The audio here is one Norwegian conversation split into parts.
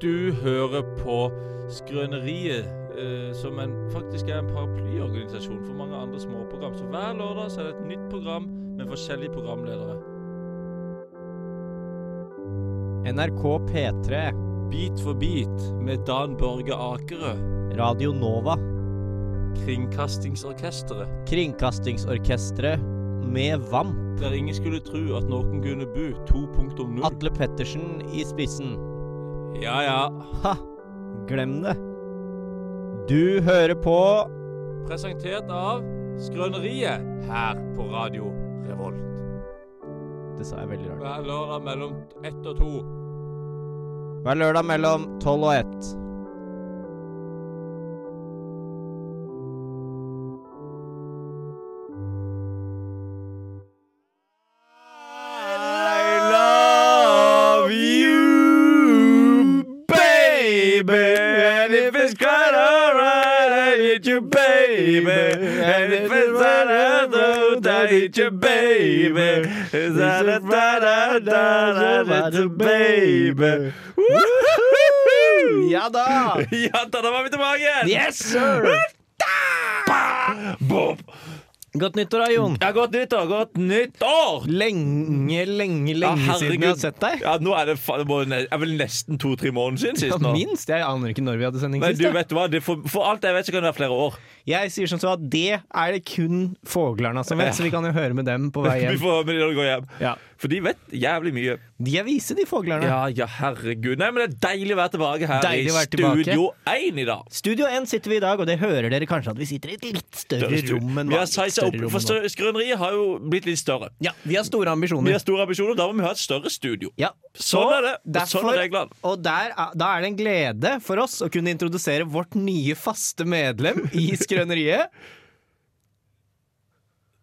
Du hører på Skrøneriet, eh, som en, faktisk er en paraplyorganisasjon for mange andre småprogram. Så hver lørdag så er det et nytt program med forskjellige programledere. NRK P3, Bit for bit med Dan Børge Akerø, Radio Nova, Kringkastingsorkesteret. Kringkastingsorkestret med VAMP, Der ingen skulle tro at noen kunne bu 2.0. Atle Pettersen i spissen. Ja ja. Ha! Glem det. Du hører på Presentert av Skrøneriet her på Radio Revolt. Det sa jeg veldig rart. Hver lørdag mellom ett og to. Hver lørdag mellom 12 og 1. I love you, baby. And if it's quite alright, I hit you, baby. And if it's not out, I hit you, baby. Is that a da da da da da baby? Ja da! Ja da, da var vi tilbake igjen! Yes, sir! Godt nyttår da, Jon. Ja, godt nyttår! Godt nyttår! Lenge, lenge, lenge Ja, siden herregud. jeg har sett deg. Ja, nå er det, fa- det må- det er vel nesten to-tre måneder siden Ja, sist nå. minst. Jeg aner ikke når vi hadde sending Men sist. du jeg. vet du hva, det for, for alt jeg vet så kan det være flere år. Jeg sier som så at det er det kun fuglerne som vet, så vi kan jo høre med dem på vei Vi hjem. får, men når du går hjem. Ja. For de vet jævlig mye. De er vise, de fuglerne. Ja, ja, herregud. Nei, men det er deilig å være tilbake her Deilig å i være tilbake. Studio 1 i dag. Studio 1 sitter vi i dag, og det hører dere kanskje at vi sitter i et litt større rom enn Vi har sizet opp, for nå. stø- Skrøneriet har jo blitt litt større. Ja, vi har store Vi ambisjoner. har store ambisjoner, da må vi ha et større studio. Ja. Sånn er det, og Derfor, sånn er reglene. Og der, er- da er det en glede for oss å kunne introdusere vårt nye faste medlem i Skrøneriet.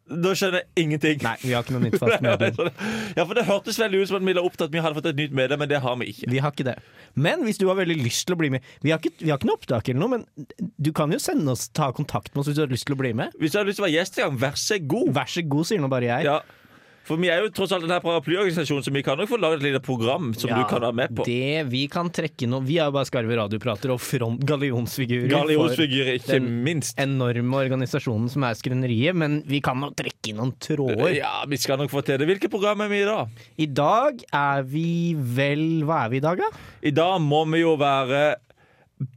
Da skjønner jeg ingenting. Nei, vi har ikke noe nytt fast medlem. Ja, for Det hørtes veldig ut som at vi la opp til at vi hadde fått et nytt medlem, men det har vi ikke. Vi har ikke det. Men hvis du har veldig lyst til å bli med Vi har ikke, vi har ikke noe opptak eller noe, men du kan jo sende oss, ta kontakt med oss hvis du har lyst til å bli med. Hvis du har lyst til å være gjest i gang, vær så god. Vær så god, sier nå bare jeg. Ja. For vi er jo tross alt en her paraplyorganisasjon, så vi kan nok få laget et lite program som Ja, du kan være med på. Det vi kan trekke nå Vi er jo bare skarve radioprater og front gallionsfigurer for Gallionsfigurer, ikke den- minst. enorme organisasjonen som er Skrøneriet, men vi kan nå trekke inn noen tråder. Ja, vi skal nok få til det. Hvilke program er vi i dag? I dag er vi vel Hva er vi i dag, da? I dag må vi jo være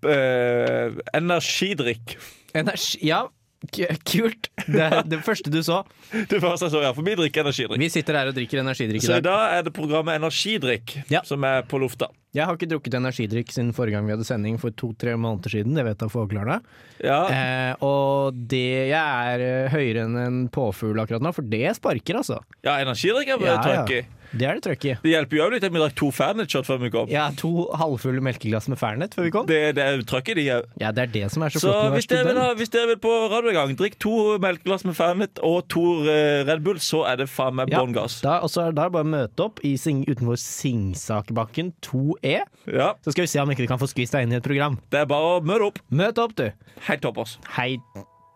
eh, energidrikk. Energi... Ja, k- kult. Det, det første du så. Det første jeg så, ja. For vi drikker energidrikk. Vi sitter her og drikker energidrikk i Så i dag. dag er det programmet Energidrikk Ja. som er på lufta. Jeg har ikke drukket energidrikk siden forrige gang vi hadde sending for to-tre måneder siden. Det vet jeg foglerne. Ja. Eh, og det Jeg er eh, høyere enn en påfugl akkurat nå, for det sparker, altså. Ja, energidrikk er Ja, ja. trøkk i. Det er det trøkk i. Det hjelper jo også litt at vi drakk to Fernet-shot før vi kom. Jeg har to halvfulle melkeglass med Fernet før vi kom. Det, det er jo trøkk i de òg. Ja, det er det som er så Så flott med å være hvis dere, vil ha, student. hvis dere vil på radiogang, drikk to melkeglass med Fernet og to eh, Red Bull, så er det faen meg Ja. bånn gass. Da, og så er det da bare å møte opp i sing, utenfor Singsakerbakken 2E. Ja, Så skal vi se om ikke vi kan få skvist deg inn i et program. det er bare å møte opp. Møt opp, du! Helt toppers. Hei,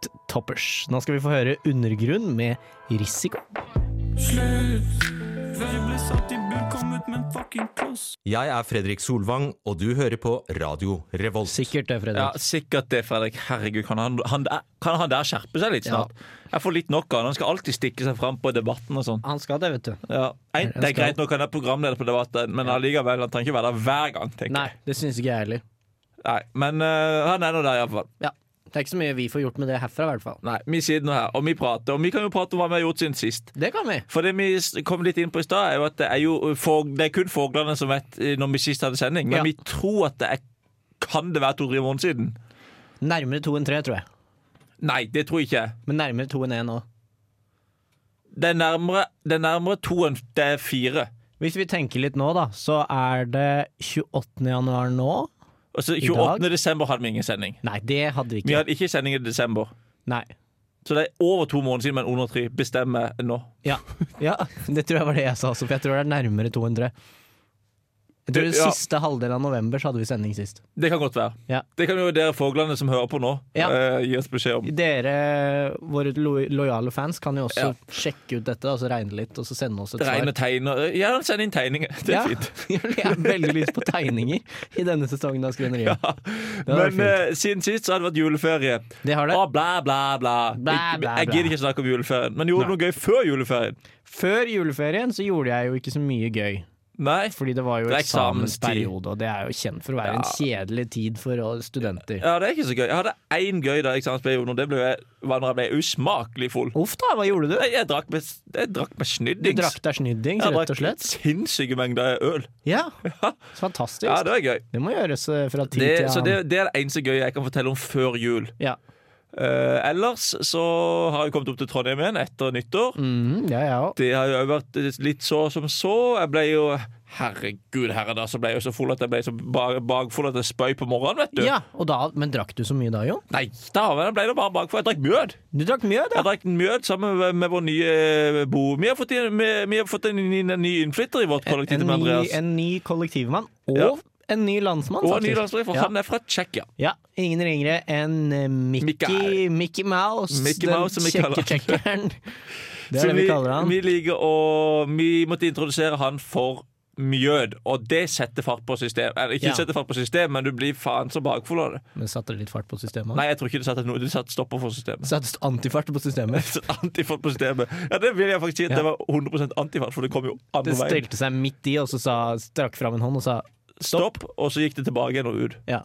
t- toppers. Nå skal vi få høre Undergrunn med Risiko. Slutt. Verre ble satt i bur, kom ut med en fucking kloss. Jeg er Fredrik Solvang, og du hører på Radio Revolt. Sikkert det, Fredrik. Ja, sikkert det, Fredrik. Herregud, kan han, han, der- kan han der skjerpe seg litt snart? Jeg får litt nok av han. Han skal alltid stikke seg fram på debatten og sånn. Han skal det, vet du. Ja. Nei, Det er greit nok han er programleder på debatten, men allikevel, han trenger ikke være der hver gang, tenker Nei, jeg. det syns ikke jeg heller. Nei, men eh, han er nå der, iallfall. Ja. Det er ikke så mye vi får gjort med det herfra, i hvert fall. Nei, vi sitter nå her, og vi prater. Og vi kan jo prate om hva vi har gjort siden sist. Det kan vi. For det vi s- kom litt inn på i stad, er jo at det er, jo fog, det er kun fuglene som vet eh, når vi sist hadde sending. Men Ja. vi tror at det er Kan det være to-tre måneder siden? Nærmere to enn tre, tror jeg. Nei, det tror jeg ikke. Men nærmere to enn én òg. Det er nærmere, det er nærmere to enn det er fire. Hvis vi tenker litt nå, da, så er det 28. januar nå. Og så dag? 28. desember hadde vi ingen sending. Nei, det hadde vi Vi ikke. hadde ikke sending i desember. Nei. Så det er over to måneder siden, men under tre. Bestemmer nå. Ja. ja, det tror jeg var det jeg sa også, for jeg tror det er nærmere 200. Jeg tror Du, det ja. Siste halvdel av november så hadde vi sending sist. Det kan godt være. Ja. Det kan jo dere fuglene som hører på nå, Ja. eh, gi oss beskjed om. Dere, våre lo lojale fans, kan jo også Ja. sjekke ut dette, altså regne litt, og så sende oss et Regne svar. tegner Ja, send inn tegninger. Det er Ja. fint. Jeg har veldig lyst på tegninger i denne sesongen av Skrøneriet. hadde vært Men eh, siden sist så har det vært juleferie. Det har det. Å, bla, bla, bla. Bla, Jeg- bla, Jeg bla. gidder ikke snakke om juleferien. Men gjorde du noe gøy før juleferien? Før juleferien så gjorde jeg jo ikke så mye gøy, Nei? fordi det var jo Det er eksamenstid. eksamensperiode, og det er jo kjent for å være en kjedelig tid for å- studenter. Ja, det er ikke så gøy. Jeg hadde én gøy da eksamensperioden, og det ble jeg, var når jeg ble usmakelig full. Uff da, hva gjorde du? Jeg, jeg drakk meg, jeg drakk meg Du snyddings. drakk deg snyddings, Jeg rett og drakk slett? sinnssyke mengder øl. Ja, så Ja, fantastisk. det var gøy. Det må gjøres eh, fra tid Det, til så annen. det, det er det eneste gøye jeg kan fortelle om før jul. Ja, Eh, ellers så har jeg kommet opp til Trondheim igjen etter nyttår. Mhm, ja, jeg òg. Det har jo vært litt så som så. Jeg ble jo Herregud, herre, da, så ble jeg jo så full at jeg ble så ba- bakfull at jeg spøy på morgenen, vet du. Ja, og da, men drakk du så mye da, Jon? Nei, da ble det bare bakfull. Jeg drakk mjød. Du drakk mjød, Jeg drakk mjød sammen med, med vår nye eh, bo. Vi har fått, inn, vi, vi har fått en, en, ny innflytter i vårt kollektiv En med ny, Andreas. en ny kollektivmann og Ja. en ny landsmann, Og en ny faktisk. landslagsspiller, for Ja. han er fra Tsjekkia. Ja, ingen ringere enn eh, Mickey, Mickey. Mickey Mouse. Mickey Mouse, som vi kjekke kaller han. tsjekkeren. Det Så er det vi kaller han. Vi liker å Vi måtte introdusere han for mjød, og det setter fart på system. Eller, ikke Ja. setter fart på system, men du blir faen så bakfull av det. Men satte det litt fart på systemet? Nei, jeg tror ikke det satte noe. Det satte stopper for systemet. Satte st- antifart på systemet? Så Antifart på systemet. Ja, det vil jeg faktisk si at Ja. det var 100 antifart, for det kom jo Det andre veien. stelte seg midt i, og så sa, strakk fram en hånd og sa Stopp, og så gikk det tilbake igjen og ut. ja.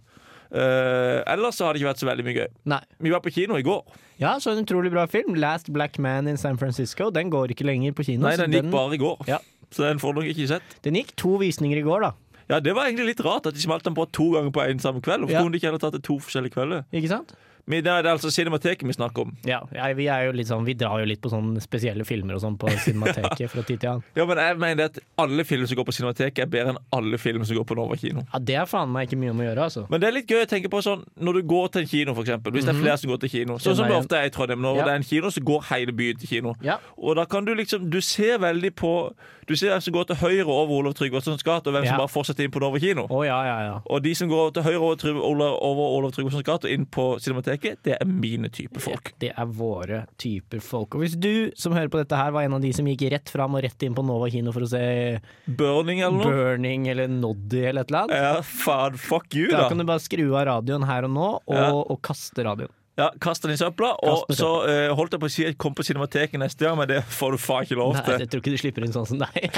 Eh, ellers så har det ikke vært så veldig mye gøy. Nei. Vi var på kino i går. Ja, så en utrolig bra film. 'Last Black Man in San Francisco'. Den går ikke lenger på kino. Nei, så Altså, den gikk bare i går. Ja. Så den får du nok ikke sett. den gikk to visninger i går, da. Ja, Det var egentlig litt rart at de smalt den på to ganger på en samme kveld. Hvorfor Ja. kunne de ikke heller tatt det to forskjellige kvelder? Ikke sant? Men det er det er altså Cinemateket vi snakker om. Ja, jeg, vi, er jo litt sånn, vi drar jo litt på sånne spesielle filmer og sånn på Cinemateket fra tid til annen. Ja, men jeg mener at Alle filmer som går på Cinemateket, er bedre enn alle filmer som går på Nova kino. Ja, Det er faen meg ikke mye om å gjøre, altså. Men det er litt gøy å tenke på sånn når du går til en kino, for eksempel. Hvis det er flere som går til kino. Sånn som det ofte er i Trondheim. Når Mhm. Ja. det er en kino, så går hele byen til kino. Ja. Og da kan du liksom Du ser veldig på Du ser hvem som går til høyre over Olav Tryggvasons gate, og hvem Ja. som bare fortsetter inn på Nova kino. Å ja, ja, ja. Og de som går til høyre over, Tryg- Ola- over Olav Tryggvasons gate og inn på Cinemateket, det er mine type folk. Det er våre typer folk. Og hvis du som hører på dette her var en av de som gikk rett fram og rett inn på Nova kino for å se Burning eller noe? Burning eller Noddy eller et eller annet, Ja, faen, fuck you, da da. kan du bare skru av radioen her og nå og, Ja. og kaste radioen. Ja, Kast den i søpla. Og Kast den i så eh, holdt jeg på å si kom på Cinemateket neste gang, men det får du faen ikke lov Nei, til. jeg tror ikke du slipper inn sånn som deg.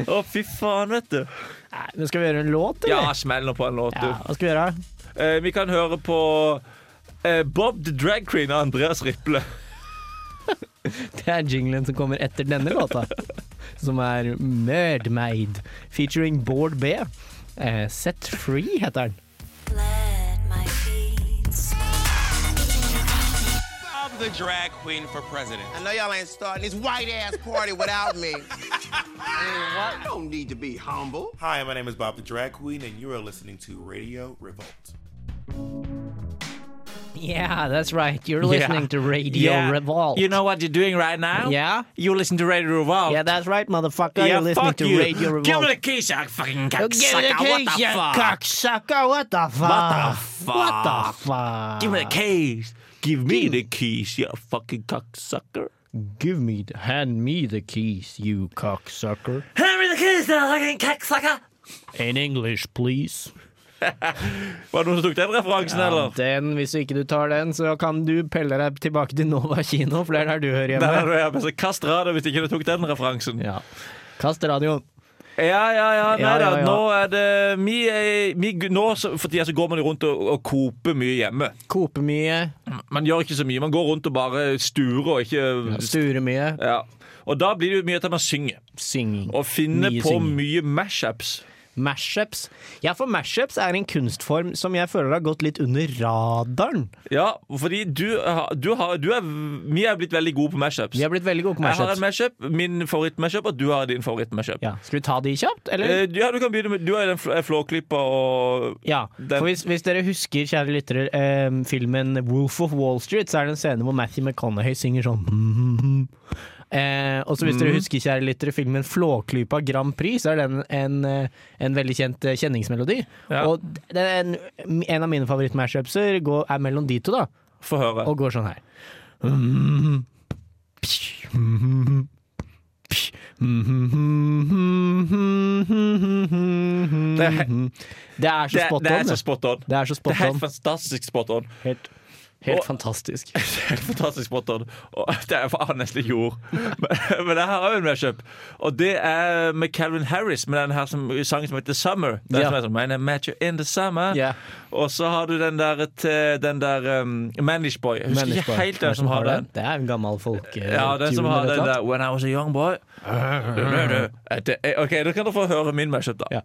Å, fy faen, vet du. Nei, men skal vi gjøre en låt, Ja, eller? smell nå på en låt, du. Hva skal vi gjøre? Eh, vi kan høre på eh, Bob the Drag Queen av Andreas Riple. Det er jinglen som kommer etter denne låta, som er Mermaid featuring Bård B. Eh, Set Free heter den. Let my feet Bob the drag queen for president. I know y'all ain't starting this white ass party without me. I don't need to be humble. Hi, my name is Bob the Drag Queen, and you are listening to Radio Revolt. Yeah, that's right. You're listening to Radio Revolt. what you're doing right now? Yeah? You listen to Radio Revolt. Yeah, that's right, motherfucker. You're listening to Radio Revolt. keys, you fucking Oh, give me the keys, you cocksucker. What the fuck? What the fuck? What the fuck? keys. Give me the keys, you fucking cocksucker. Give me the- hand me the keys, you cocksucker. Hand me the keys, you fucking cocksucker. In English, please. Var det noen som tok den referansen, eller? Den, hvis ikke du tar den, så kan du pelle deg tilbake til Nova kino, for det er der du hører Der er hjemme. du, ja. Men så kast radio hvis ikke du tok den referansen. Ja. Kast radioen. Ja, ja, ja. Nei Ja, da, ja, ja. nå er det vi, er- vi, Nå så, for tida så går man jo rundt og, og koper mye hjemme. Kope mye, Man gjør ikke så mye. Man går rundt og bare sturer og ikke sture mye, ja. Og da blir det jo mye til at man synger. synging. Og finner Mye på synging. mye mashups. Mashups. Ja, for mashups er en kunstform som jeg føler har gått litt under radaren. Ja, fordi du, har- du har du er, Vi er blitt veldig gode på mashups. Vi har blitt veldig gode på Jeg har en mashups. mashup, min favoritt-mashup, og du har din favoritt-mashup. Ja. Skal vi ta de kjapt, eller? Eh, du- ja, du kan begynne med Du er den fl- eh, flåklippa og Ja, den- for hvis, hvis dere husker, kjære lyttere, eh, filmen Wolf of Wall Street, så er det en scene hvor Matthew McConaughey synger sånn Eh, og så hvis Mhm. dere husker, kjære lyttere, filmen Flåklypa Grand Prix, så er den en, eh, en veldig kjent eh, kjenningsmelodi. Ja. Og det er en, en av mine favorittmatchupser går- er mellom de to, da, Få høre. og går sånn her. Det er, he- Det er Mhm. så det, spot on. det er så det. spot on. Det er så Det er spot helt on. fantastisk spot on. Helt, helt Og- fantastisk. Helt fantastisk spot on. Og det er hva han nesten gjorde. Men, men jeg har òg en matchup. Og det er med Calvin Harris med den her som, sangen som heter 'Summer'. Den Ja. som er sånn, Man, I met you in the summer. Ja. Og så har du den der, til- den der um, Manish Boy. Jeg husker Manish ikke Boy. helt hvem som har den. Det er en gammel folke... Ja, den som tune har eller et den eller der When I was a young boy Du, du, du. Det er- Ok, da kan dere få høre min mashup da Ja.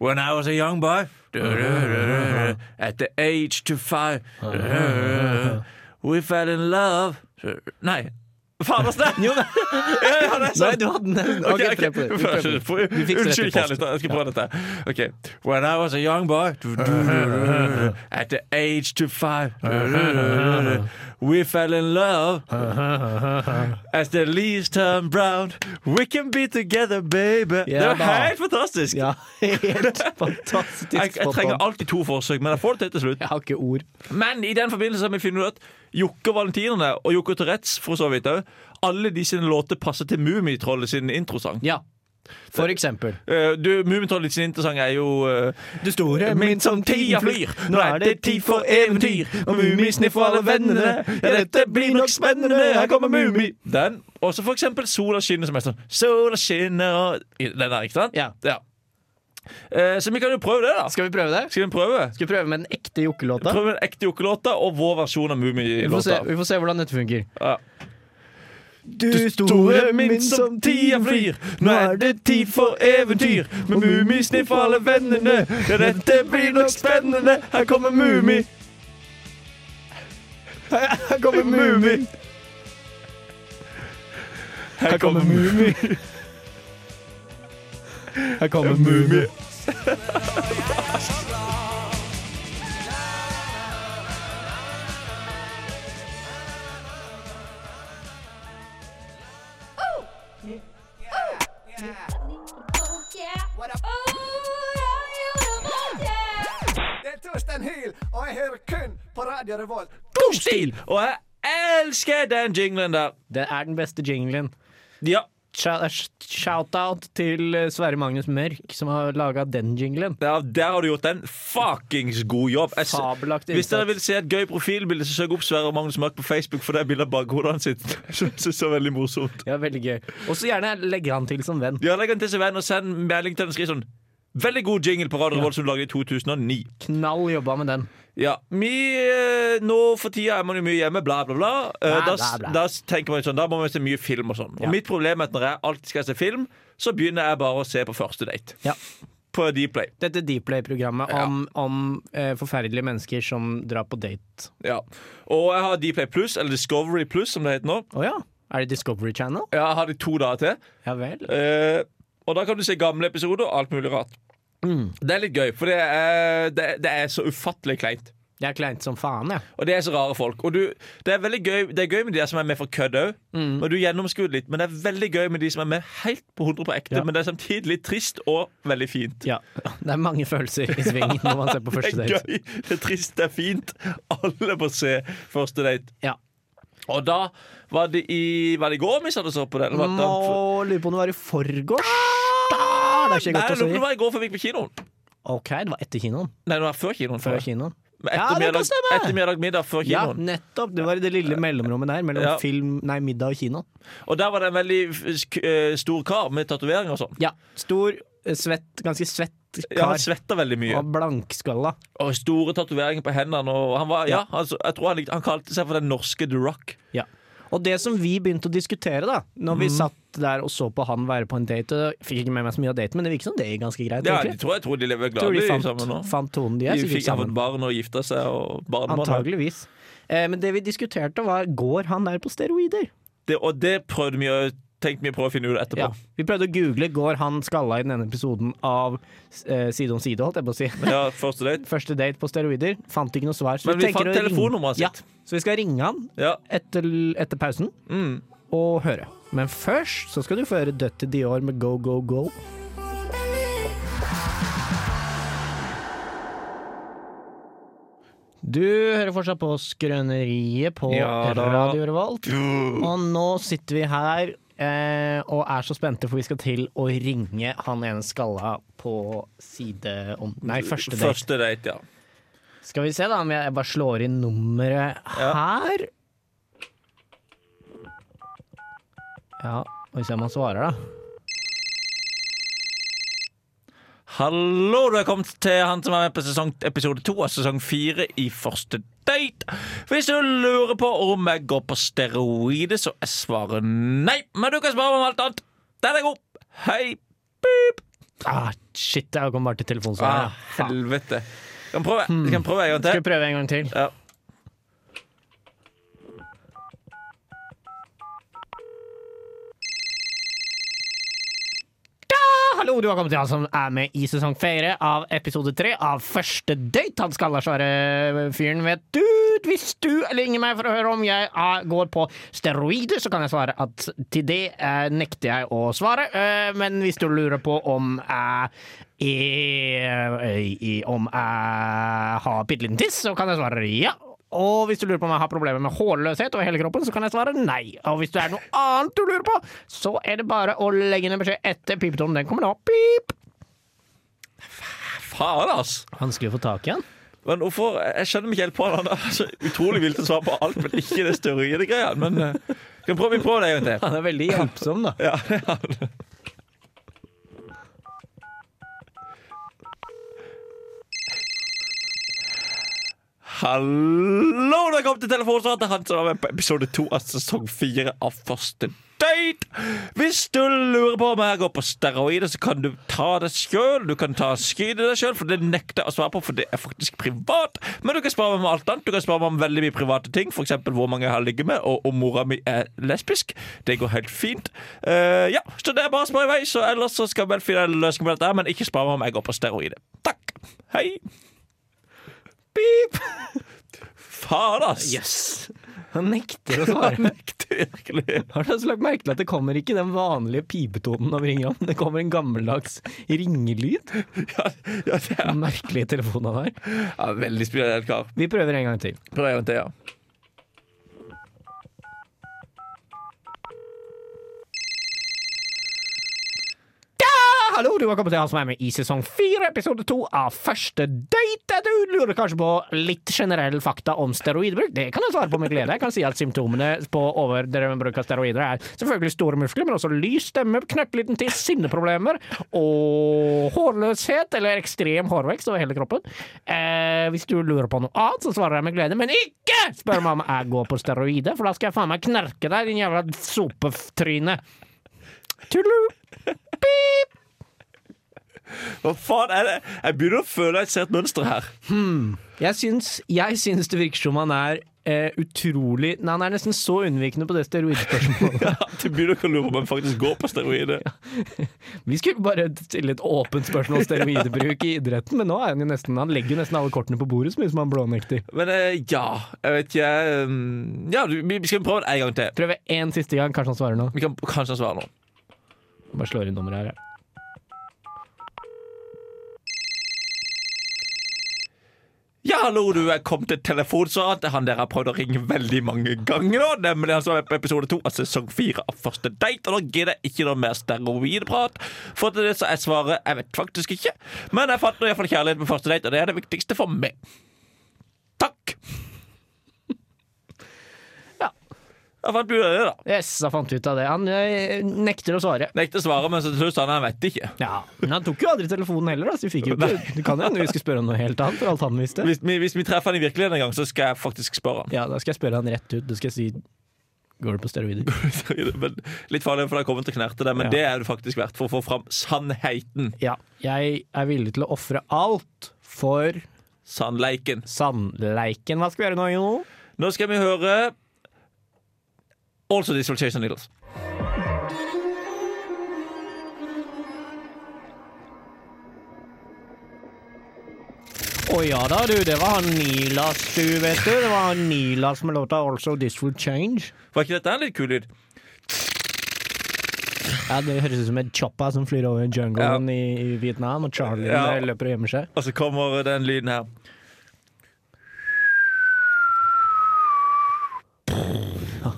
When I was a young boy du, du, du, du, At the age to five du, du, du, du. We fell in love du, Nei Faen, hva snakker Jo, nei. Ja, det er Nei, sant du hadde den. Ok, Ok, ok. prøv på det. Vi prøver på det. Vi fikser dette Unnskyld, i posten. kjærlighet, jeg skal prøve dette. Ok. When I was a young boy du, du, du, du, du, du, At the age to five du, du, du, du, du, We fell in love As the leaves turn brown We can be together, baby Det Ja er da. helt fantastisk! Ja, helt fantastisk Jeg, jeg spot trenger on. alltid to forsøk, men jeg får det til til slutt. Jeg har ikke ord. Men i den forbindelse har vi funnet ut at Jokke Valentinerne og Jokke Tourettes for så vidt òg, alle de sine låter passer til Mummitrollet sin introsang. Ja. For eksempel. Eh, du, Mummitrollet sin introsang er jo eh, Du store Min som tida flyr, nå er det tid for eventyr. Og Mummisniff og alle vennene, ja, dette blir nok spennende. Her kommer Mummi. Den. Og så for eksempel Sola skinner, som er sånn Sola skinner og Den der, ikke sant? Ja. Eh, så vi kan jo prøve det, da. Skal vi prøve det? Skal vi prøve? Skal vi prøve med den ekte jokkelåta? Prøve den ekte jokkelåta og vår versjon av Vi får, se, Mummi-låta. vi får se hvordan dette funker. Ja. Du Store min som tida flyr, nå er det tid for eventyr. Med Mummisniff og alle vennene, ja, dette blir nok spennende. Her kommer Mummi. Her kommer Mumi. Her kommer Mummi. Her kommer Mumi. Oh yeah. What up? Oh, yeah, you know my dad. Det er Torstein Hyl, og jeg hører kun på Radio Revolt. God stil! Og jeg elsker den jinglen der. Det er den beste jinglen. Ja, eh, Shout-out til eh, Sverre Magnus Mørk, som har laga den jinglen. der, der har du gjort en fuckings god jobb. Jeg s- Fabelaktig Hvis dere innsats. vil se et gøy profilbilde, så søk opp Sverre Magnus Mørk på Facebook, for det er bilde av bakhodet hans. sitt. Jeg synes det er så veldig morsomt. Ja, veldig gøy. Og så gjerne legge han til som venn. Ja, Legg den til sin venn og send melding til den og skriv sånn Veldig god jingle på Radio Revolt som du lagde i 2009. Knall jobba med den. Ja, vi, eh, Nå for tida er man jo mye hjemme, bla, bla, bla. Eh, Bla, da, bla, bla. da s- tenker man jo sånn, da må man se mye film og sånn. Og Ja. Mitt problem er at når jeg alltid skal se film, så begynner jeg bare å se på første date. Ja. På Dplay. Dette Dplay-programmet om, om eh, forferdelige mennesker som drar på date. Ja. Og jeg har Dplay Plus, eller Discovery Plus som det heter nå. Å ja? Er det Discovery Channel? Ja, Jeg har det i to dager til. Ja vel. Eh, og da kan du se gamle episoder og alt mulig rart. Mm. Det er litt gøy, for det er, det, det er så ufattelig kleint. Det er kleint som faen, jeg. Og det er så rare folk. Og du, det er veldig gøy Det er gøy med de som er med for kødd òg. Mm. Og du gjennomskuer det litt, men det er veldig gøy med de som er med helt på 100 på ekte. Ja. Men det er samtidig litt trist og veldig fint. Ja. Det er mange følelser i sving når man ser på Det første er date. gøy, det er trist, det er fint. Alle må se første date. Ja. Og da var det i Var det i går vi satt og så på det? Eller var det den- Må lurer på om det var i forgårs. Ah, det er ikke Nei, godt jeg lurer å si. på om Det var i går før vi gikk på kinoen. OK, det var etter kinoen. Nei, det var før kinoen. tror Før jeg. kinoen. Men Ja, det kan Ettermiddag, stemme. ettermiddag, middag før Ja, kinoen. nettopp. Det var i det lille mellomrommet der mellom Ja. film, nei, middag og kino. Og der var det en veldig f- sk- eh, stor kar med tatoveringer og sånn. Ja. Stor, eh, svett, ganske svett Ja, kar. han svetta veldig mye. og blankskalla. Og store tatoveringer på hendene. Og han var, ja, altså, jeg tror han, likte- han kalte seg for den norske The Rock. Ja. Og det som vi begynte å diskutere, da Når vi Mm. satt der og så på han være på en date og Jeg fikk ikke med meg så mye av daten, men det virket som det gikk ganske greit. Ja, egentlig. jeg tror, jeg tror de lever tror gladelig de sammen nå. fant, fant tonen de er de sikkert fikk har fått sammen. barn og gifta seg og barnebarn. Antageligvis. Eh, men det vi diskuterte, var går han der på steroider? Det, og det prøvde vi å tenkte vi å prøve å finne ut etterpå. Ja. Vi prøvde å google 'går han skalla' i denne episoden av eh, Side om side, holdt jeg på å si. Ja, første date. Første date på steroider. Fant ikke noe svar. Så Men vi tenker fant å ringe- telefonnummeret Ja, sitt. så vi skal ringe han Ja. Mm. etter, etter pausen. å høre. Men først så skal du få høre Dødt til Dior med Go Go Go. Du hører fortsatt på Skrøneriet på Ja da. Radio Revolt. Og nå sitter vi her eh, og er så spente, for vi skal til å ringe han ene skalla på side om Nei, første date. Første date, ja. Skal vi se da om jeg bare slår inn nummeret her. Ja, og se om han svarer, da. Hallo, du er kommet til han som er med på sesong, episode to av sesong fire i Første date. Hvis du lurer på om jeg går på steroider, så er svaret nei. Men du kan spørre meg om alt annet. Den er god. Hei. Beep. Ah, shit, jeg kom bare til Ah, telefonsvaret. ja. Faen. Hmm. helvete. Kan prøve, kan prøve en gang Skal vi til. prøve en gang til? Ja. Hallo, du har kommet til han som er med i sesong fire av episode tre av Første date. Han skal da svare fyren, vet du. Hvis du ringer meg for å høre om jeg ah, går på steroider, så kan jeg svare at til det eh, nekter jeg å svare. Eh, men hvis du lurer på om jeg eh, eh, om jeg har bitte liten tiss, så kan jeg svare ja. Og hvis du lurer på om jeg har problemer med hårløshet over hele kroppen, så kan jeg svare nei. Og hvis det er noe annet du lurer på, så er det bare å legge ned beskjed etter pipetonen. Den kommer nå. Pip! Faen, ass. Vanskelig å få tak i han. Men hvorfor, Jeg skjønner meg ikke helt på det. Han er så utrolig vill til å svare på alt, men ikke det steroidegreia. Men eh, kan prøve, vi prøver det en gang til. Han er veldig hjelpsom, da. Ja, ja. Hallo, du er kommet til telefonsvaret til han som var med på episode to av sesong fire av Første date. Hvis du lurer på om jeg går på steroider, så kan du ta det sjøl. Du kan ta skyte deg sjøl, for det nekter jeg å svare på, for det er faktisk privat. Men du kan spørre meg om alt annet. Du kan spørre meg om veldig mye private ting, f.eks. hvor mange jeg har ligget med, og om mora mi er lesbisk. Det går helt fint. Eh, ja, så det er bare å spørre i vei, så ellers så skal jeg vel finne en løsning på dette, her, men ikke spør meg om jeg går på steroider. Takk. Hei. Pip. Faen, ass. Yes. Han nekter å svare. Nekter virkelig. Har du også lagt merke til at det kommer ikke den vanlige pipetonen når vi ringer om? Det kommer en gammeldags ringelyd. Ja, ja, det er Merkelig telefon han har. ja, veldig spesiell kar. Vi prøver en gang til. Prøv en gang til, ja. Hallo, du har kommet til han som er med i sesong fire, episode to av Første date. Du lurer kanskje på litt generell fakta om steroidbruk. Det kan jeg svare på med glede. Jeg kan si at symptomene på overdrevenbruk av steroider er selvfølgelig store muskler, men også lys stemme, knøttliten tiss, sinneproblemer og hårløshet eller ekstrem hårvekst over hele kroppen. Eh, hvis du lurer på noe annet, så svarer jeg med glede, men ikke spør meg om jeg går på steroider, for da skal jeg faen meg knerke deg, din jævla sopetryne. Tudelu! Pip! Hva faen er det? Jeg begynner å føle at jeg ser et mønster her. Jeg syns, jeg syns det virker som han er eh, utrolig Nei, han er nesten så unnvikende på det steroidspørsmålet. Du begynner ikke å lure på om jeg faktisk går på steroider. Vi skulle bare stille et åpent spørsmål om steroidbruk i idretten, men nå er han jo nesten Han legger jo nesten alle kortene på bordet så mye som han blånekter. Men eh, ja, jeg vet ikke ehm, Ja, du, vi skal vi prøve det en gang til. Prøve én siste gang, kanskje han svarer nå. Vi kan kanskje han svarer nå. Bare slår inn nummeret her. ja. Ja, hallo, du er kommet til telefonsvaret til han dere har prøvd å ringe veldig mange ganger nå. Nemlig han som er på episode to av sesong fire av Første date. Og nå gidder jeg ikke noe mer steroidprat. For til det så er svaret jeg vet faktisk ikke. Men jeg fant nå iallfall kjærlighet på første date, og det er det viktigste for meg. Takk. Ja. Jeg fant ut av det, da. Yes, da fant vi ut av det. Han eh, nekter å svare. Nekter å svare, men så til slutt sa han jeg vet ikke. Ja, Men han tok jo aldri telefonen heller, da, så vi fikk jo ikke Du kan jo hende vi skulle spørre om noe helt annet, for alt han visste. Hvis vi, hvis vi treffer han i virkeligheten en gang, så skal jeg faktisk spørre han. Ja, da skal jeg spørre han rett ut. Da skal jeg si Går du på steroider? men litt farlig, for det har kommet til å knerte det, men Ja. det er det faktisk verdt for å få fram sannheten. Ja, jeg er villig til å ofre alt for Sannleiken. sandleiken. Hva skal vi gjøre nå, Jono? Nå skal vi høre Also This Will Chase the Needles. Å ja da, du. Det var han Nilas, du, vet du. Det var han Nilas med låta 'Also This Will Change'. Var ikke dette en litt kul lyd? Ja, det høres ut som en choppa som flyr over jungelen Ja. i, i Vietnam, og Charlie Ja. der løper og gjemmer seg. Og så kommer den lyden her.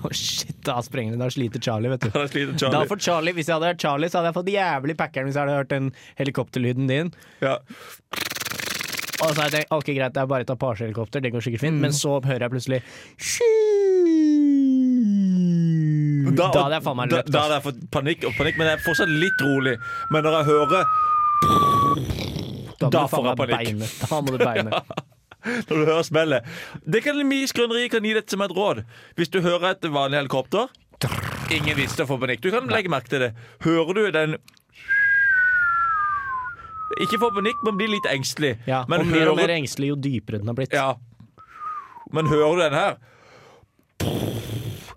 Å shit, da sprenger det. Da sliter Charlie, vet du. Da sliter Da Charlie. får Charlie, Hvis jeg hadde hørt Charlie, så hadde jeg fått jævlig packeren hvis jeg hadde hørt den helikopterlyden din. Ja. Og så hadde jeg tenkt, ok greit, det er bare et Apache-helikopter, det går sikkert Mm. fint. Men så hører jeg plutselig Shoo! Da hadde jeg faen meg da, løpt. altså. da ass. hadde jeg fått panikk og panikk, men jeg er fortsatt litt rolig. Men når jeg hører Da, da må du faen får jeg meg panikk. beine. Da må du beine. Når du hører smellet Det kan mye skrøneri kan gi dette som et råd. Hvis du hører et vanlig helikopter Ingen visste å få panikk. Du kan legge merke til det. Hører du den Ikke få panikk, men bli litt engstelig. Ja, men, og mer og hører- mer engstelig jo dypere den har blitt. ja. men hører du den her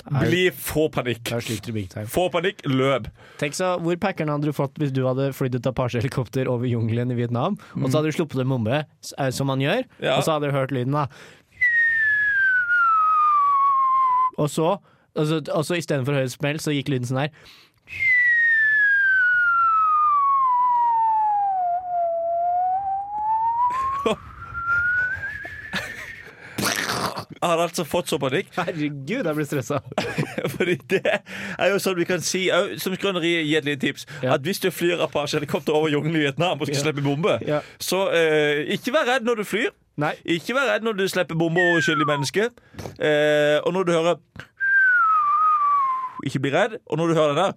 Bli Få panikk. Da sliter du big time. Få panikk, løp. Tenk så, Hvor packeren hadde du fått hvis du hadde flydd et Apache-helikopter over jungelen i Vietnam, og så hadde du sluppet en bombe, s- eh, som man gjør, Mm. Ja. og så hadde du hørt lyden, da. Og så, altså, og så, og så istedenfor å høre et smell, så gikk lyden sånn her. Jeg hadde altså fått så panikk. Herregud, jeg ble stressa. Fordi det er jo sånn vi kan si au, Som skrøneri gi et lite tips Ja. At hvis du flyr Apache-helikopter over jungelen i Vietnam Og skal Ja. slippe bombe Ja. Så eh, ikke vær redd når du flyr Nei. Ikke vær redd når du slipper bombe over uskyldige mennesker Eh, Og når du hører Ikke bli redd Og når du hører den der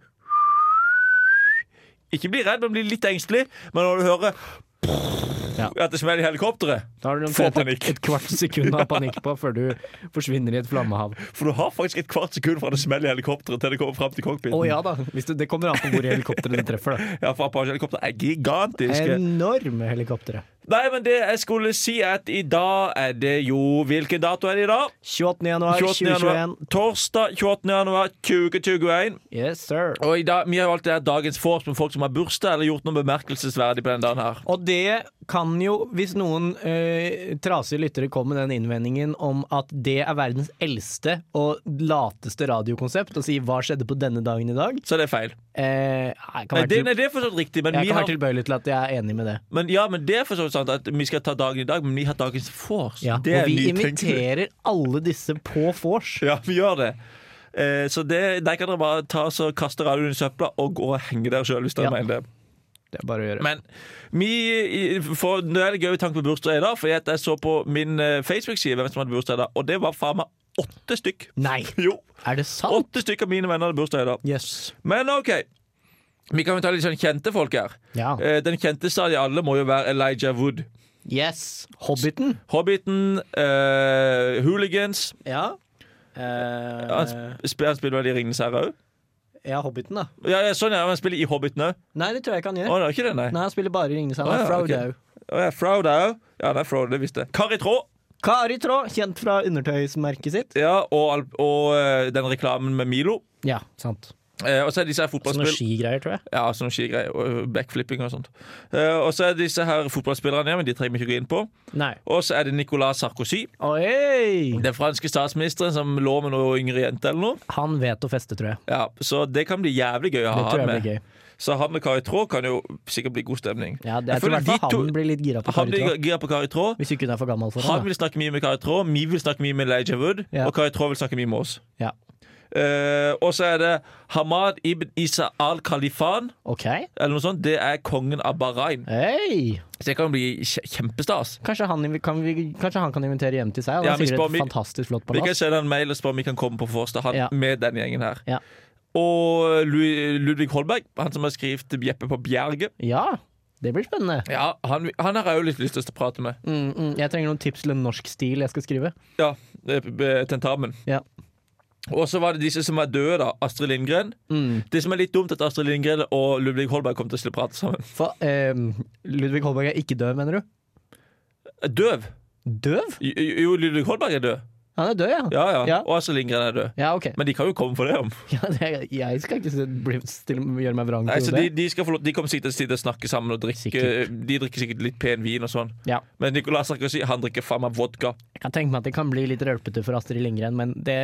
Ikke bli redd, men bli litt engstelig Men når du hører Ja. At det smeller i helikopteret Da har du Få omtrent et, panikk. et kvart sekund av panikk på før du forsvinner i et flammehav. For du har faktisk et kvart sekund fra det smeller i helikopteret Til det kommer frem til Å cockpiten ja da, hvis du, det kommer an på hvor i helikopteret det treffer, da. Ja, for Apache-helikopter er gigantiske Enorme helikoptre. Nei, men det jeg skulle si er at i dag er det jo Hvilken dato er det i dag? 28. januar 28. januar. 2021. Torsdag 28. januar 2021. Yes, sir. Og i dag, vi har valgt det her dagens vors med folk som har bursdag eller gjort noe bemerkelsesverdig på den dagen her. Og det kan jo, hvis noen eh, trasige lyttere kommer med den innvendingen om at det er verdens eldste og lateste radiokonsept, og si 'hva skjedde på denne dagen i dag', Så det er feil. eh, jeg kan Nei, være, det, til, nei, det er for så vidt riktig, men jeg vi kan har, være tilbøyelig til at jeg er enig med det. men, ja, men det er for så vidt sant at vi skal ta dagen i dag, men vi har dagens vors. Ja, det og er vi nytenkning. inviterer alle disse på vors. Ja, vi gjør det. Eh, så det, der kan dere bare ta så kaste radioen i søpla og gå og henge der sjøl hvis dere Ja. mener det. Det er bare å gjøre. Men vi, for, nå er det gøy tanke på bursdag i dag, for jeg, jeg så på min eh, Facebook-side hvem som hadde bursdag i dag, og det var faen meg åtte stykk. Nei, Jo, er det sant? åtte stykk av mine venner hadde bursdag i dag. Jøss. Men OK. Vi kan jo ta litt sånn kjente folk her. Ja. Eh, Den kjenteste av de alle må jo være Elijah Wood. Yes. Hobbiten. Hobbiten, eh, Hooligans Ja. Eh, Han, sp han spiller vel i Ringenes herre òg? ja, Hobbiten, da. Ja, ja, sånn, ja. Han spiller i Hobbiten òg. Nei, det tror jeg ikke han Å, gjør. han er ikke det, nei. Nei, han spiller bare i Ringenes Å, herre. ja, Fra ok. Odau. Å, ja, Frode òg. Ja, det er Frode, det visste jeg. Kari Traa. Kari Traa, kjent fra undertøysmerket sitt. Ja, og, al- og eh, den reklamen med Milo. Ja, sant. Eh, og så er disse her fotballspill... skigreier, tror jeg. ja, sånne skigreier. og Backflipping og sånt. Eh, og så er disse her fotballspillerne, ja, men de trenger vi ikke gå inn på. Nei. Og så er det Nicolas Sarkozy, Oi! den franske statsministeren som lå med noen yngre jenter eller noe. Han vet å feste, tror jeg. Ja, Så det kan bli jævlig gøy å Det ha tror han eh. jeg blir med. gøy. Så han og Kari Traa kan jo sikkert bli god stemning. Ja, Jeg det, jeg tror i føler hvert de fall to- han blir litt gira på Han Kari blir Traa. gira på Kari Traa. Hvis ikke hun er for gammel for Han det. vil snakke mye med Kari Traa, vi vil snakke mye med Elijah Wood, Ja. og Kari Traa vil snakke mye med oss. da. Ja. Eh, og så er det Hamad ibn Isa al-Khalifan. OK. eller noe sånt, det er kongen av Bahrain. Hei! Så det kan bli kje- kjempestas. Kanskje han kan, vi, kanskje han kan invitere hjem til seg? Han Ja, har vi sikkert spør- et vi- fantastisk flott Vi kan palass. sende en mail og spørre om vi kan komme på Forstad han Ja. med den gjengen her. Ja. Og Lu- Ludvig Holberg, han som har skrevet Jeppe på Bjerget, Ja, det blir spennende. ja, han, han har jeg jo litt lyst til å prate med. Mm, mm. Jeg trenger noen tips til en norsk stil jeg skal skrive. Ja, eh, eh, tentamen. Ja. Og så var det disse som er døde, da. Astrid Lindgren. Mm. Det som er litt dumt, er at Astrid Lindgren og Ludvig Holberg kom til å slutte å prate sammen. For, ehm, Ludvig Holberg er ikke død, mener du? Døv. Døv? Jo, Jo, Ludvig Holberg er død. Han er død, ja. Ja, ja. Ja. Og Astrid Lindgren er død. Ja, ok. Men de kan jo komme for det om. Ja, det, jeg skal ikke se- bli, stille, gjøre meg vrang Nei, til så det. de, de, skal få lov, de kommer sikkert til å sitte og snakke sammen og drikke Sikkert. De drikker sikkert litt pen vin og sånn. Ja. Men Nicolas Sarkozy han drikker faen meg vodka. Jeg kan tenke meg at det kan bli litt rølpete for Astrid Lindgren, men det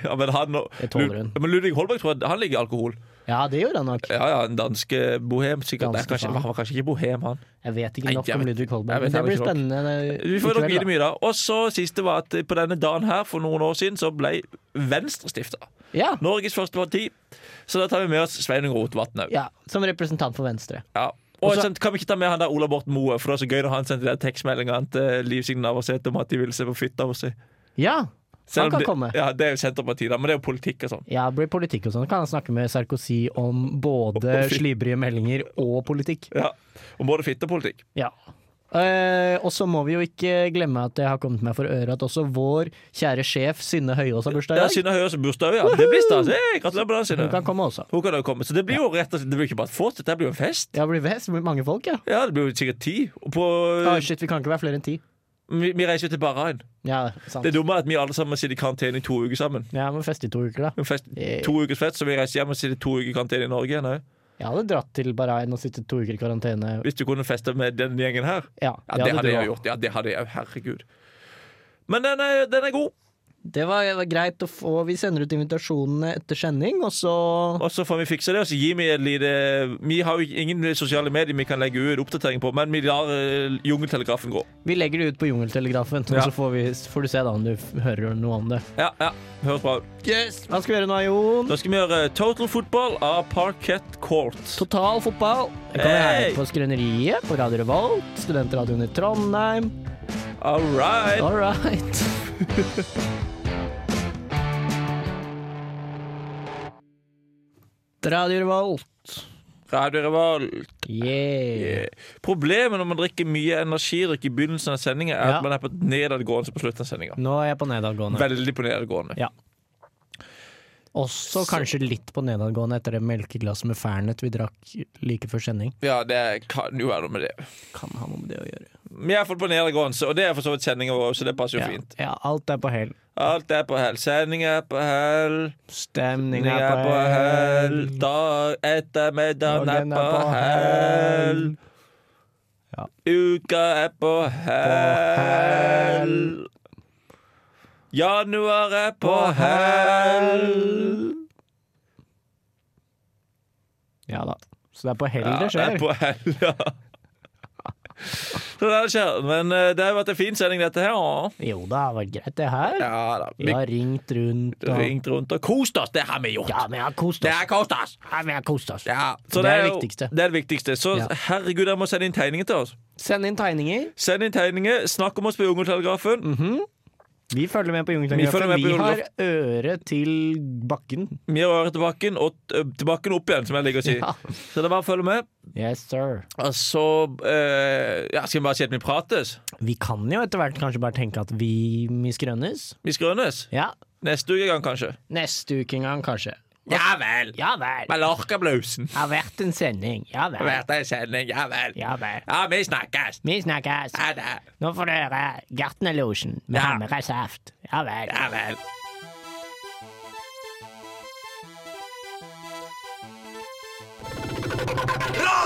Ja, men han og, Det tåler hun. Lud- Men Ludvig Holberg tror jeg han ligger i alkohol. Ja, det gjorde han nok. Ja, ja, en dansk eh, bohem. Sikkert. Danske Nei, kanskje, faen. han var kanskje ikke bohem, han. Jeg vet ikke Nei, nok jeg om vet- Ludvig Holberg, jeg vet men det blir ikke nok. spennende. Vi får nok gi det mye, da. Og så siste var at eh, på denne dagen her, for noen år siden, så ble Venstre stifta. Ja, Norges første parti. Så da tar vi med oss Sveinung Rotevatn òg. ja, som representant for Venstre. Ja. Og Også- sånn, kan vi ikke ta med han der Ola Borten Moe, for det var så gøy da han sendte den tekstmeldinga til eh, Liv Signe Navarsete om at de ville se på fitta på seg. Ja, Selv om han kan det, komme. Ja, det er jo Senterpartiet, da, men det er jo politikk og sånn. Ja, blir politikk og sånn. Kan han snakke med Sarkozy om både slibrige meldinger og politikk. Ja. Og både fitte og politikk. Ja. Eh, og så må vi jo ikke glemme at det har kommet meg for øre at også vår kjære sjef Synne Høiås har bursdag Det i er dag. Synne Høies bursdag, ja. Det blir stas. Hey, gratulerer med dagen, Synne. Hun kan komme også. Hun kan jo komme. Så det blir jo rett og slett Det blir jo ikke bare et fort, dette blir jo en fest. Ja, det blir vest, det blir mange folk, ja. Ja, det blir jo sikkert ti. Og på, Ah, shit, vi kan ikke være flere enn ti. vi, vi reiser jo til Bahrain. Ja, sant. Det dumme er at vi alle sammen sitter i karantene i to uker sammen. Ja, må feste i to uker, da. En fest, Eh. to ukers fest, så vi reiser hjem og sitter to uker i karantene i Norge igjen òg. Jeg hadde dratt til Bahrain og sittet to uker i karantene. Hvis du kunne feste med den gjengen her. Ja, Ja, det hadde du jeg også. gjort. Ja, det hadde jeg, Herregud. Men den er, den er god. Det var, det var greit å få Vi sender ut invitasjonene etter sending, og så Og så får vi fikse det. Og så gir vi et lite Vi har jo ingen sosiale medier vi kan legge ut oppdatering på, men vi lar eh, jungeltelegrafen gå. Vi legger det ut på Jungeltelegrafen, Ja. og så får, vi, får du se da om du f- hører noe om det. Ja, ja. Høres bra ut. Hva skal vi gjøre nå, Jon? Da skal vi gjøre eh, Total Football av Parkett Court. Total fotball. Det kommer Hey! her på Skrøneriet på Radio Revolt, studentradioen i Trondheim. All right. All right. Radio Revolt. Radio Revolt. Yeah. Yeah. Eh, Problemet når man drikker mye energidrikk i begynnelsen av sendinga, er Ja. Mm. at man er på nedadgående på slutten av sendinga. Nå er jeg på nedadgående. Veldig på nedadgående. Ja. Også kanskje litt på nedadgående etter det melkeglasset med Fernet vi drakk like før sending. Ja, det kan jo være noe med det. Kan ha noe med det å gjøre. Vi er iallfall på nedadgående, så- og det er for så vidt sendinga vår, så det passer jo Ja, fint. ja alt er på hell. Alt er på hell. Sending er på hell. Stemning Sending er på hell. Dag ettermiddagen er Dagen på hell. Ja. Uka er på hell. hell. Januar er på hell. Ja da. Så det er på hell Ja, det det er skjer. på hell, ja. Så det skjer. Men eh, det har vært en fin sending, dette her. ja. Jo da, det var greit det her. Ja da. Vi Vi har ringt rundt og ringt rundt og kost oss. Det har vi gjort. Ja, vi har kost Det oss. har kost oss. Ja, vi har kost oss. Ja, Det er det jo- viktigste. Det er det viktigste. Så Ja. herregud, dere må sende inn tegninger til oss. Send inn tegninger. Send inn tegninger, snakk om oss på Jungeltelegrafen. Mhm. Vi følger med på Vi følger Jungeltelegrafen. med Vi, på har øret til bakken. Vi har øret til bakken, og t- til bakken opp igjen, som jeg liker å si. Ja. Så det er bare å følge med. Yes, sir. Og så eh, ja, skal vi bare si at vi prates. Vi kan jo etter hvert kanskje bare tenke at vi misgrønnes. Vi skrønes. Ja. Neste uke gang, kanskje. Neste uke en gang, kanskje. Ja vel. Ja vel. Mallorca-blusen. Det har vært en sending. Ja vel. Vært ei sending, ja vel. Ja vel. Ja, vi snakkes. Vi snakkes. Ha det. Nå får du høre Gartnerlosjen med Ja. Hammerøy saft. Ja vel. Ja vel. Radio